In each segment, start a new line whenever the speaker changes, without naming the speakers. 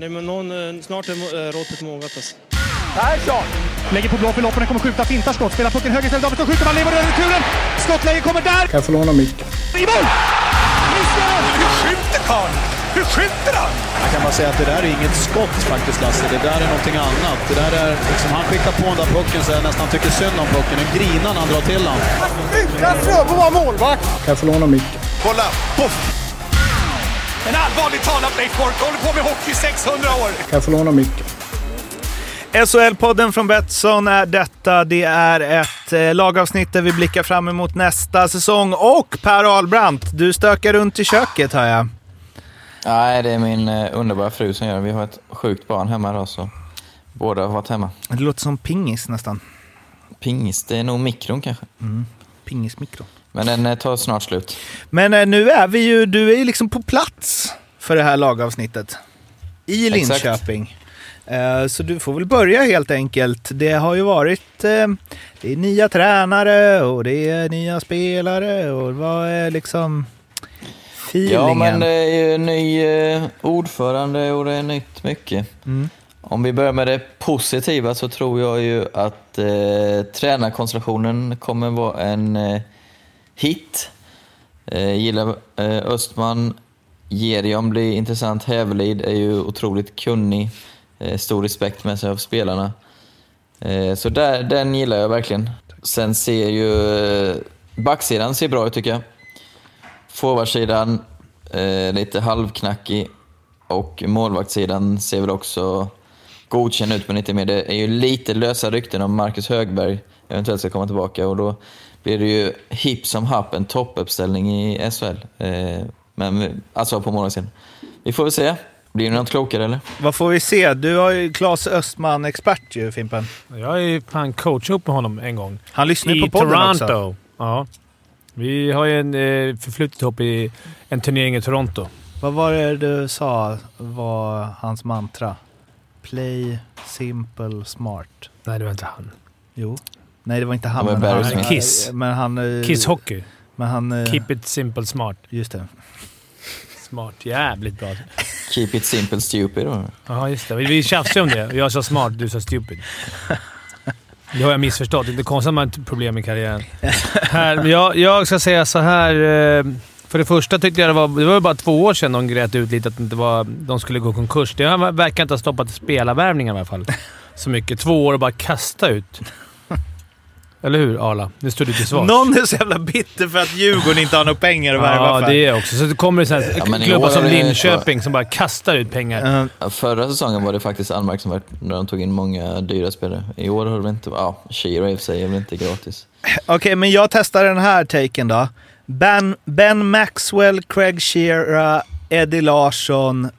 Nej, men någon, eh, snart är må- eh, råttet mogat alltså.
Persson!
Lägger på blå för loppen, den kommer skjuta, fintar skott, spelar pucken höger istället, Davidsson skjuter, man lever över returen! Skottläge kommer där!
Kan jag få låna micken?
I mål!
Hur skjuter karln? Hur skjuter han?
Jag kan bara säga att det där är inget skott faktiskt, Lasse. Det där är någonting annat. Det där är, liksom, han skickar på den där pucken så jag nästan tycker synd om pucken. Nu grinar när han drar till den.
Utan Fröbo var målvakt.
Kan jag få låna micken?
Kolla! Poff! En allvarligt talat Blake Bork håller på med hockey i 600 år.
Kan jag få låna micken?
SHL-podden från Betsson är detta. Det är ett eh, lagavsnitt där vi blickar fram emot nästa säsong. Och Per Ahlbrandt, du stökar runt i köket hör jag.
Nej, det är min eh, underbara fru som gör det. Vi har ett sjukt barn hemma idag, så båda har varit hemma.
Det låter som pingis nästan.
Pingis, det är nog mikron kanske.
Pingismikro.
Men den eh, tar snart slut.
Men eh, nu är vi ju, du är ju liksom på plats för det här lagavsnittet. I
Exakt.
Linköping. Eh, Så du får väl börja helt enkelt. Det har ju varit eh, det är nya tränare och det är nya spelare och vad är liksom feelingen?
Ja, men det är ju en ny eh, ordförande och det är nytt mycket. Om vi börjar med det positiva så tror jag ju att eh, tränarkonstellationen kommer vara en eh, hit. Eh, gillar eh, Östman. Gerion blir intressant. Hävelid är ju otroligt kunnig. Eh, stor respekt med sig av spelarna. Eh, så där, den gillar jag verkligen. Sen ser ju... Eh, backsidan ser bra ut tycker jag. Forwardsidan eh, lite halvknackig och målvaktssidan ser väl också godkänd ut men inte mer. Det är ju lite lösa rykten om Marcus Högberg eventuellt ska komma tillbaka och då blir det ju hipp som happ en toppuppställning i SHL. Eh, men, vi- alltså på målvaktssidan. Vi får väl se. Blir det något klokare eller?
Vad får vi se? Du har ju Claes Östman, expert ju Fimpen.
Jag är ju fan coach ihop med honom en gång.
Han lyssnar ju
I
på podden
Toronto.
också.
Ja. Vi har ju en eh, förflutet ihop i en turnering i Toronto.
Vad var det du sa var hans mantra? Play simple smart.
Nej, det var inte han.
Jo. Nej, det var inte han.
Det var
men
Barry
han
Smith.
Kiss.
Men han... eh,
Kiss Hockey.
Men han... eh,
Keep it simple smart.
Just det.
Smart. Jävligt bra.
Keep it simple stupid. då.
Ja, just det. Vi- Vi tjafsade om det. Jag sa smart, du sa stupid. Det har jag missförstått. Det är konstigt att man har ett problem i karriären. Här, men jag, jag ska säga så här. eh, För det första tyckte jag det var... Det var ju bara två år sedan de grät ut lite att det inte var, de skulle gå konkurs. Det har- verkar inte ha stoppat spelarvärvningen i alla fall. Så mycket. Två år och bara kasta ut. Eller hur, Arla? Nu står du till svars.
Någon är så jävla bitter för att Djurgården inte har några pengar att värva
Ja,
för.
det är också. Så det kommer så här
Ja, men i
klubbar
år
som
är det-
Linköping som bara kastar ut pengar.
Eh,
Ja, Förra säsongen var det faktiskt anmärkningsvärt när de tog in många dyra spelare. I år har de inte... Ja, Shiro i och för sig är väl inte gratis.
Okej, men jag testar den här taken då. Ben, ben Maxwell, Craig Shearer, Eddie Larsson,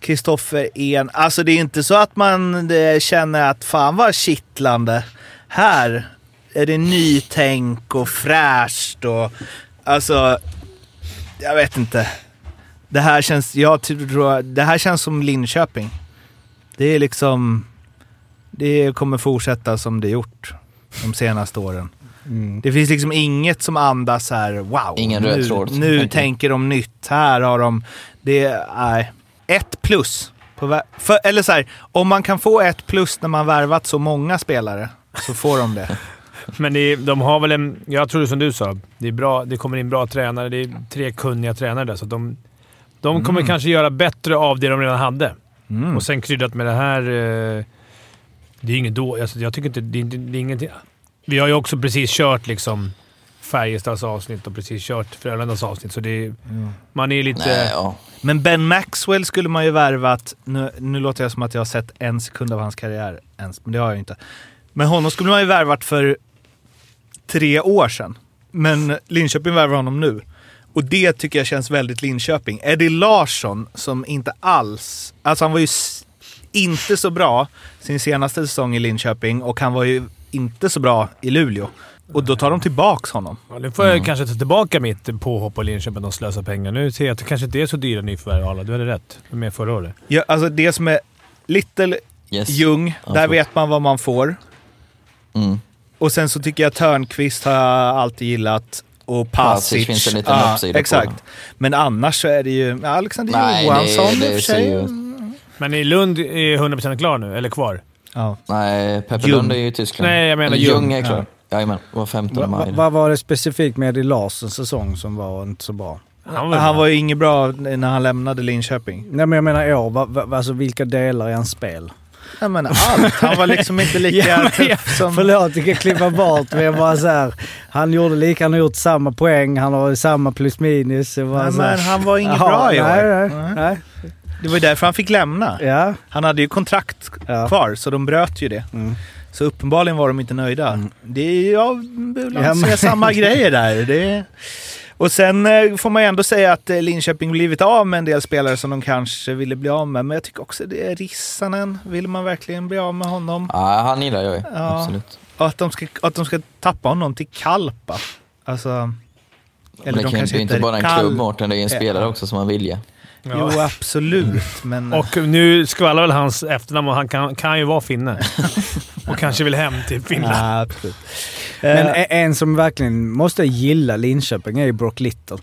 Kristoffer En. Alltså det är inte så att man eh, känner att fan vad kittlande. Här är det nytänk och fräscht och alltså, jag vet inte. Det här känns, jag tror, det här känns som Linköping. Det är liksom, det kommer fortsätta som det gjort de senaste åren. Det finns liksom inget som andas så här wow.
Ingen
nu,
röd tråd.
Nu
Okej.
tänker de nytt. Här har de... Det är ett plus. På vä- för, eller så här, om man kan få ett plus när man värvat så många spelare så får de det.
Men det är, de har väl en... Jag tror som du sa. Det, är bra, det kommer in bra tränare. Det är tre kunniga tränare där, så att de, de kommer kanske göra bättre av det de redan hade.
Mm.
Och sen kryddat med det här... eh, Det är inget då, alltså, Jag tycker inte... Det, är inte- det är ingenting. Vi har ju också precis kört liksom Färjestads avsnitt och precis kört Frölundas avsnitt, så det, är- man är lite...
Nej, ja.
Men Ben Maxwell skulle man ju värvat. Nu, nu låter jag som att jag har sett en sekund av hans karriär ens, men det har jag ju inte. Men honom skulle man ju värvat för tre år sedan. Men Linköping värvar honom nu. Och det tycker jag känns väldigt Linköping. Eddie Larsson som inte alls... Alltså han var ju s- inte så bra sin senaste säsong i Linköping och han var ju inte så bra i Luleå. Och då tar de tillbaks honom.
Ja, nu får jag kanske ta tillbaka mitt påhopp på Linköping att de slösar pengar. Nu ser jag att det kanske inte är så dyra nyförvärv, Arla. Du hade rätt. Du var med förra året.
Ja, alltså det som är Little
Yes.
Ljung,
Ja,
där
förlåt.
vet man vad man får.
Mm.
Och sen så tycker jag Törnqvist har jag alltid gillat. Och Passic.
Passic finns en liten
Ja,
uppsida på
Exakt.
den.
Men annars så är det ju Alexander
Nej, det-
Johansson i
det
och för
ser
sig.
ju-
mm,
Men i Lund är 100% klar nu, eller kvar.
Ja.
Nej, Pepperlund
Ljung.
är ju i Tyskland.
Nej, jag menar
Ljung.
Ljung.
är klar. Jajamän, var 15
Vad
maj.
vad var det specifikt med Eddie Larsens säsong som var inte så bra?
Han var,
Han var ju inget bra när han lämnade Linköping.
Nej men jag menar år, va, va, alltså vilka delar i hans spel?
Jag menar allt. Han var liksom inte lika
Ja, men jag-
tuff som...
Förlåt, jag kan klippa bort men jag bara så här, Han gjorde lika, han har gjort samma poäng, han har samma plus minus. Jag bara
Nej,
så här,
men han var inget
"Jaha,
bra i år.
Nej, nej,
Nej. Eh.
nej.
Det var ju därför han fick lämna.
Ja,
Han hade ju kontrakt
Ja.
kvar, så de bröt ju det.
Mm.
Så uppenbarligen var de inte nöjda. Det är, jag ibland
Ja,
ser
men-
jag samma grejer där. Det är... Och sen eh, får man ju ändå säga att eh, Linköping blivit av med en del spelare som de kanske ville bli av med. Men jag tycker också det är Rissanen. Vill man verkligen bli av med honom?
Ja, han gillar jag ju.
Ja.
Absolut.
Och att de ska, att de ska tappa honom till Kalpa. Alltså...
Men det, kan, det är inte bara en klubb, Mårten. Det är en
Ja.
spelare också som har vilja.
Jo, absolut. Men...
Och nu skvallrar väl hans efternamn och han kan, kan ju vara finne. och kanske vill hem till Finland.
Ja, absolut.
Men
Eh,
e- en som verkligen måste gilla Linköping är ju Brock Little.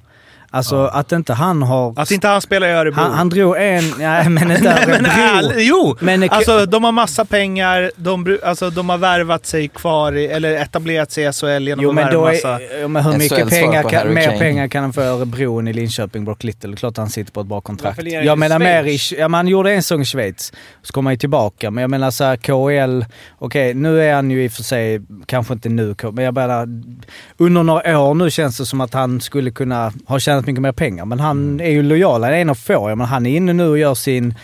Alltså att inte han har...
att inte han spelar i Örebro.
han, han drog en... Nej, men inte
Men
Örebro.
ärligt, jo!
Alltså, Men
Alltså de har massa pengar, de, bru- alltså, de har värvat sig kvar i, eller etablerat sig i SHL genom
Jo
att
men
värva
då
massa...
är, ja, men hur
SHL
mycket
svarar
pengar
på
kan,
Harry
mer
Kane.
pengar kan han få i Örebro än i Linköping, Brock Little? Klart han sitter på ett bra kontrakt.
Varför lirar han
Jag
i
menar mer i...
Schweiz?
Ja, men han gjorde en säsong i Schweiz, så kom han ju tillbaka. Men jag menar så här, KHL, okej nu är han ju i och för sig, kanske inte nu, men jag menar under några år nu känns det som att han skulle kunna ha tjänat mycket mer pengar. Men han
Mm.
är ju lojal, han är en av få. Jag menar, han är inne nu och gör sin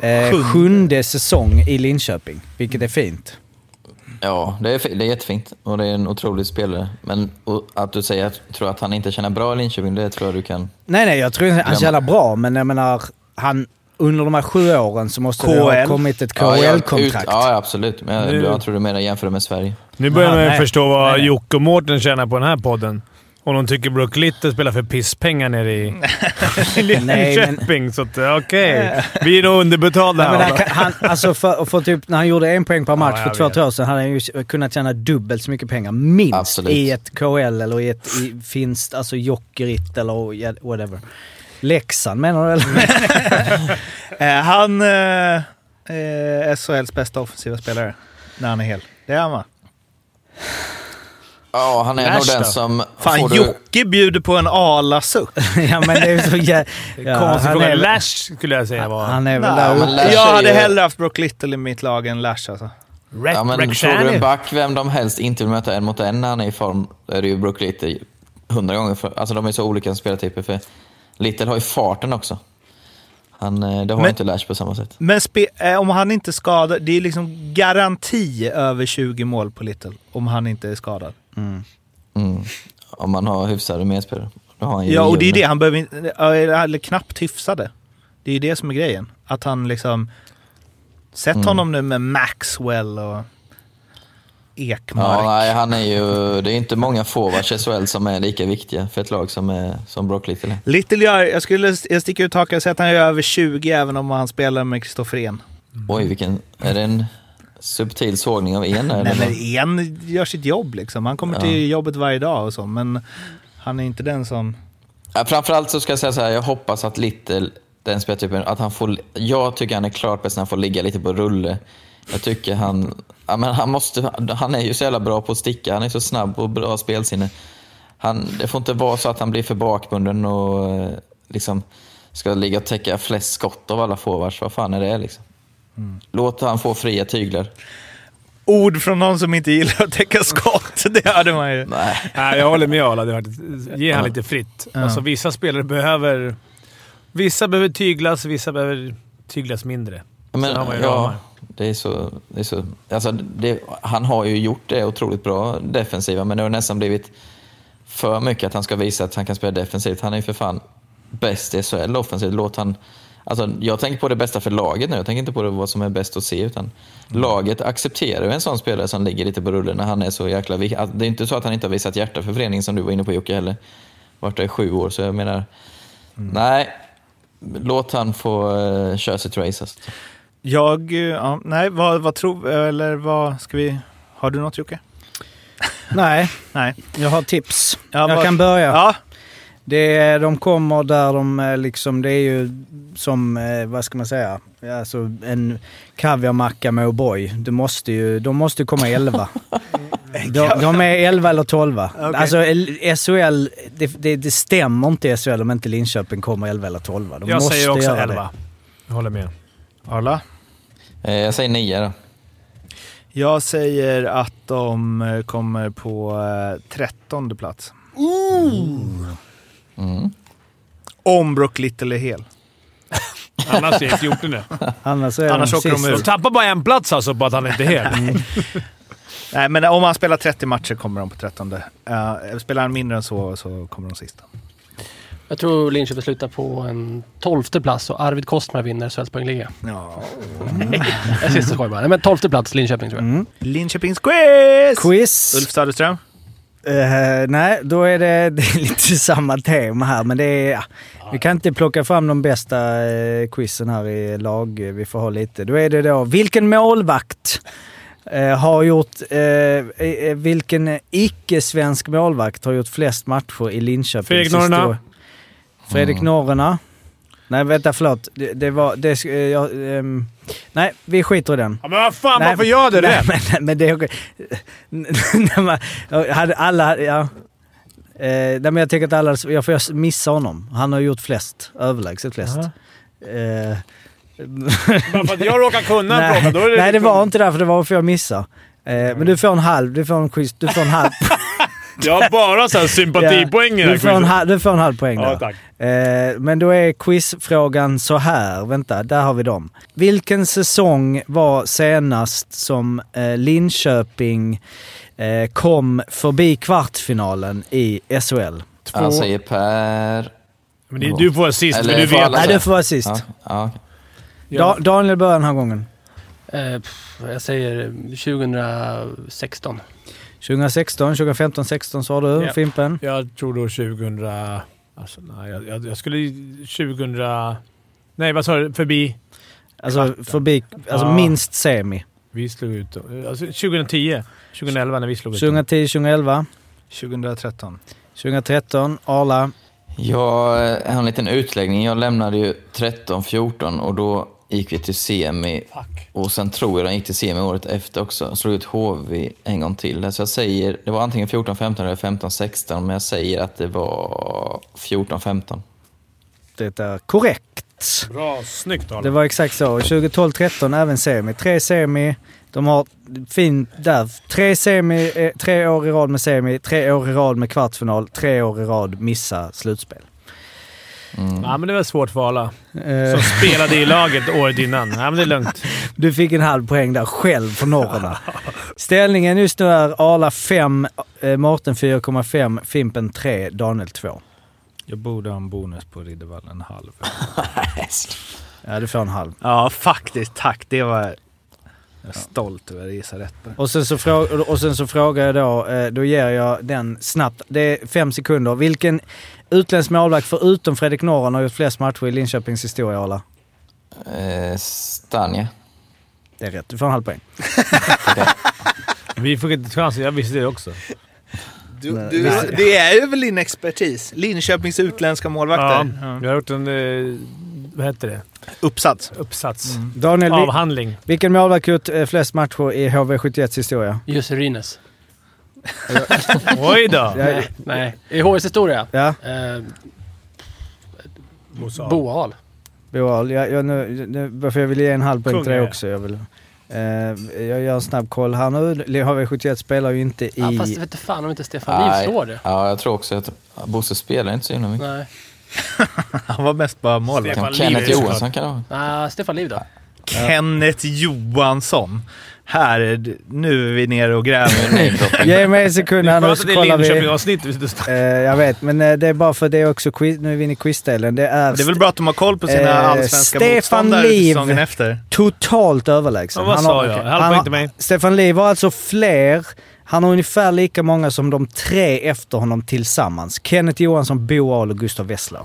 eh,
Sjunde.
sjunde säsong i Linköping, vilket är fint.
Ja, det är, fi- det är jättefint och det är en otrolig spelare. Men och att du säger att, tror att han inte känner bra i Linköping, det tror jag du kan...
Nej, nej, jag tror inte han är så jävla bra, men jag menar, han, under de här sju åren så måste det ha
KL.
kommit ett
Ja, jag-
KHL-kontrakt.
ut- Ja, ja, absolut. Men jag,
Nu-
jag tror du menar jämför det med Sverige.
Nu börjar
Ah,
man
nej.
ju förstå vad
Nej, nej.
Jocke och Mårten tjänar på den här podden. Om de tycker Brook Little spelar för pisspengar nere i i
Nej, men-
Linköping. Så att, okej. Vi är nog underbetalda
Nej, men
här.
där kan, han, alltså för, för typ, när han gjorde en poäng per match
Ja,
för
jag
två,
vet.
tre år sedan hade han ju kunnat tjäna dubbelt så mycket pengar, minst,
Absolut.
i ett KHL eller i ett i finst, alltså Jokerit eller ja, whatever. Leksand menar du eller?
Eh, han eh, eh, SHLs bästa offensiva spelare. När han är hel. Det är han va?
Ja, han är nog
Lash
den
då?
som...
Fan,
får du-
Jocke bjuder på en alasuck.
ja men det är ju så jä- ja,
Konstig
han
fråga.
är,
Lash skulle jag säga var.
han är väl
Nej,
där
men
uppe.
Lash
Jag
är
hade
ju-
hellre haft Brook Little i mitt lag än Lash alltså.
Rec-
Ja, men tror du
Rectani.
en back, vem de helst inte vill möta en mot en när han är i form, då är det ju Brook Little hundra gånger. För, alltså de är så olika spelartyper. För Little har ju farten också. Han, eh, det har
Men-
inte Lash på samma sätt.
Men spe, eh, om han inte skadar, det är liksom garanti över 20 mål på Little. Om han inte är skadad.
Mm. Om man har hyfsade medspelare. Då har han ju
Ja, och det är
Ljung.
det. Han behöver inte, eller knappt hyfsade. Det är ju det som är grejen. Att han liksom... Sätt
Mm.
honom nu med Maxwell och Ekmark.
Ja, nej, han är ju, det är inte många forwards i SHL som är lika viktiga för ett lag som, är, som Brock Little är.
Little gör, jag skulle jag sticker ut hakan och säga att han gör över 20 även om han spelar med Kristoffer En.
Oj, vilken... Är det en subtil sågning av en där,
Nej,
eller?
men En gör sitt jobb liksom. Han kommer till jobbet varje dag och så, men han är inte den som...
Ja, framförallt så ska jag säga så här, jag hoppas att Little, den speltypen, att han får... Jag tycker han är klart bäst när han får ligga lite på rulle. Jag tycker han... Ja, men han, måste, han är ju så jävla bra på att sticka, han är så snabb och bra spelsinne. Han, det får inte vara så att han blir för bakbunden och eh, liksom ska ligga och täcka flest skott av alla forwards. Vad fan är det liksom? Låt han få fria tyglar.
Ord från någon som inte gillar att täcka skott, det hörde man ju.
Nej.
Nej, jag håller med Arla. Det har varit- Ge han lite fritt. Alltså, vissa spelare behöver... Vissa behöver tyglas, vissa behöver tyglas mindre.
Ja, Men,
Sen har man ju
ja,
ramar.
det är så... Det är så alltså, det, han har ju gjort det otroligt bra defensiva, men det har nästan blivit för mycket att han ska visa att han kan spela defensivt. Han är ju för fan bäst i SHL offensivt. Låt han... Alltså, jag tänker på det bästa för laget nu. Jag tänker inte på det, vad som är bäst att se. Utan
Mm.
Laget accepterar ju en sån spelare som ligger lite på rullen när han är så jäkla viktig. Det är inte så att han inte har visat hjärta för föreningen som du var inne på Jocke heller. Vart det i sju år, så jag menar...
Mm.
Nej, låt han få eh, köra sitt race. Alltså.
Jag... eh, Ja, nej, vad, vad tror... Eller vad ska vi... Har du något Jocke?
Nej,
Nej.
jag har tips.
Ja,
Jag
vad-
kan börja.
Ja,
Det, är- de kommer där de eh, liksom, det är ju som, eh, vad ska man säga, alltså en kaviarmacka med O'boy. Det måste ju, de måste ju komma elva. De, de är 11 eller 12. Alltså L- SHL, det, det, det stämmer inte i SHL om inte Linköping kommer 11 eller 12. De
Jag
måste
säger också
göra
11. Jag håller med.
Arla?
Eh, Jag säger nio då.
Jag säger att de eh, kommer på eh, trettonde plats.
Mm.
Om Brook Little är hel.
Annars är 14 det.
Det. Annars, är
Annars
de
åker de
sist.
ut.
De tappar bara en plats alltså på att han inte är hel.
Nej, men om han spelar 30 matcher kommer de på trettonde. Eh, spelar han mindre än så så kommer de sista.
Jag tror Linköping slutar på en tolfte plats och Arvid Kostner vinner SHLs poängliga.
Ja.
Jag sista skoj bara. Nej, men tolfte plats Linköping tror jag.
Linköpings quiz!
Quiz.
Ulf Söderström.
Eh, nej, då är det, det är lite samma tema här, men det är... Ja, vi kan inte plocka fram de bästa eh, quizen här i lag. Vi får ha lite. Då är det då, vilken målvakt eh, har gjort... Eh, eh, vilken icke-svensk målvakt har gjort flest matcher i Linköpings
Fredrik Norrena.
historia? Fredrik Norrena. Nej, vänta, förlåt. Det, det var... Det, eh, jag, ehm, nej, vi skiter i den.
Ja, men vad fan,
Nej,
varför gör du
nej,
det?
Men, nej, men det är okej. När man- hade alla... Ja. Eh, nej, men jag tänker att alla... Jag får missa honom. Han har gjort flest. Överlägset flest. Eh,
Bara för att jag råkar kunna en
nej,
fråga, då är det... liksom-
nej, det var inte därför. Det var för jag missa. Eh, men du får en halv. Du får en quiz. Du får en halv.
Jag har bara så här sympatipoäng i den här
du, får en
quizen.
halv du får en halv poäng
Ja,
där.
tack.
Eh, men då är quizfrågan så här. Vänta, där har vi dem. Vilken säsong var senast som eh, Linköping eh, kom förbi kvartsfinalen i SHL?
Han säger Per...
Men det, du får sist,
alltså, Eller
men du
får
vet.
alla
Nej,
säga?
det får vara sist.
Ja, ja. okej.
Da- Daniel börjar den här gången.
Eh, pff, jag säger 2016.
2016, 2015, 16 sa du,
Ja.
Fimpen.
Jag tror då 2000... Alltså, nej, jag, jag, jag skulle 2000... Nej, vad sa du? Förbi?
Alltså, förbi, alltså
Ja.
minst semi.
Vi slog ut dem. alltså, 2010. 2011 när vi slog ut dem.
2010, 2011,
2013.
2013, Arla.
Jag eh, har en liten utläggning. Jag lämnade ju 13-14 och då gick vi till semi. Och sen tror jag den gick till semi året efter också. Slog ut HV en gång till. där. Så jag säger, det var antingen 14-15 eller 15-16, men jag säger att det var 14-15.
Det är korrekt.
Bra, snyggt
Det
Arne.
var exakt så. 2012-13 även semi. Tre semi. De har fin där. Tre, semi, eh, tre år i rad med semi, tre år i rad med kvartsfinal, tre år i rad missa slutspel.
Mm.
Ja, men det var svårt för alla
Eh,
som spelade i laget året innan. Ja, men det är lugnt.
du fick en halv poäng där själv för norrarna. Ställningen just nu är Arla 5, eh, Mårten 4,5, Fimpen 3, Daniel 2.
Jag borde ha en bonus på Riddervallen halv.
Ja, du får en halv.
Ja, faktiskt. Tack. Det var... Jag är stolt över att gissa rätt på det.
Och sen så, frå- och sen så frågar jag då, eh, då ger jag den snabbt. Det är fem sekunder. Vilken utländsk målvakt förutom Fredrik Norren har gjort flest matcher i Linköpings historia, Arla?
Eh, Stanja.
Det är rätt. Du får en halv poäng.
Vi fick inte chansen. Jag visste det också.
Du, du, det är ju väl din expertis? Linköpings utländska
Ja,
målvakter.
jag har gjort en... eh, Vad heter det?
Uppsats.
Uppsats.
Daniel, vi-
Avhandling.
vilken målvakt har gjort eh, flest matcher i HV71s historia?
Jussi Rines.
Oj då!
Ja.
Nej, nej. I HIs historia?
Ja,
Eh,
Bosa.
Boal.
Boal. Jag, jag, nu, nu, varför jag vill ge en halv poäng till
Kung är
dig
jag.
också. Jag, vill, eh, jag gör en snabb koll här nu. HV71 spelar ju inte i...
Ja, fast jag vet inte fan om inte Stefan Liv
Nej.
står det.
Ja, jag tror också att Bosse spelar inte så himla mycket.
Nej.
Han var mest bara målvakt.
Stefan
Kenneth
Liv är
Johansson kan det vara.
Nej, Ah, Stefan Liv då?
Kenneth Johansson. Här, är det- nu är vi nere och gräver.
Ge mig en sekund här
Bra
nu
att
så
det är
kollar vi.
Linköping-avsnitt. vi sitter och snackar.
Eh, jag vet, men eh, det är bara för det är också quiz. Nu är vi inne i quizdelen. Det är,
Det är väl bra att de har koll på sina
Eh,
allsvenska
Stefan
motståndare
Liv.
säsongen efter.
totalt överlägsen.
Ja, vad sa jag?
okej. Han
Halv poäng
har-
till mig.
Stefan Liv har alltså fler Han har ungefär lika många som de tre efter honom tillsammans. Kenneth Johansson, Bo Ahl och Gustav Wessler.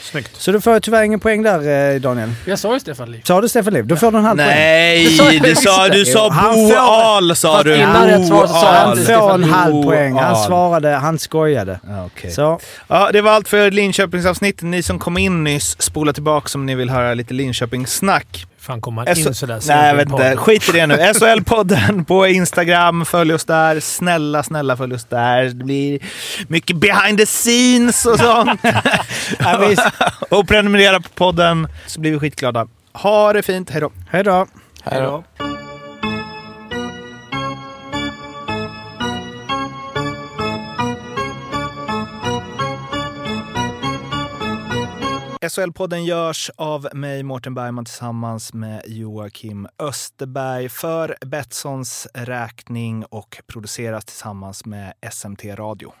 Snyggt.
Så du får jag tyvärr ingen poäng där eh, Daniel.
Jag sa ju Stefan Liv.
Sa du Stefan Liv? Då får du en halv poäng.
Nej, du sa, du sa
Jo, han
Bo
får-
Ahl sa
Fast
du.
innan rätt svar så sa han
Han
det.
får en
Stefan
halv
Bo
poäng. Han
Ahl.
svarade, han skojade.
Okej.
Så,
Ja, det var allt för Linköpingsavsnittet. Ni som kom in nyss, spola tillbaka om ni vill höra lite Linköpingssnack.
fan kommer man in
S-
sådär
Alltså, Nej, jag
sent i
vet inte.
podden?
Skit i det nu. SHL-podden på Instagram. Följ oss där. Snälla, snälla följ oss där. Det blir mycket behind the scenes och sånt.
ja, visst.
och prenumerera på podden så blir vi skitglada. Ha det fint. Hej då.
Hej då.
Hej då.
SHL-podden görs av mig, Mårten Bergman, tillsammans med Joakim Österberg för Betssons räkning och produceras tillsammans med SMT Radio.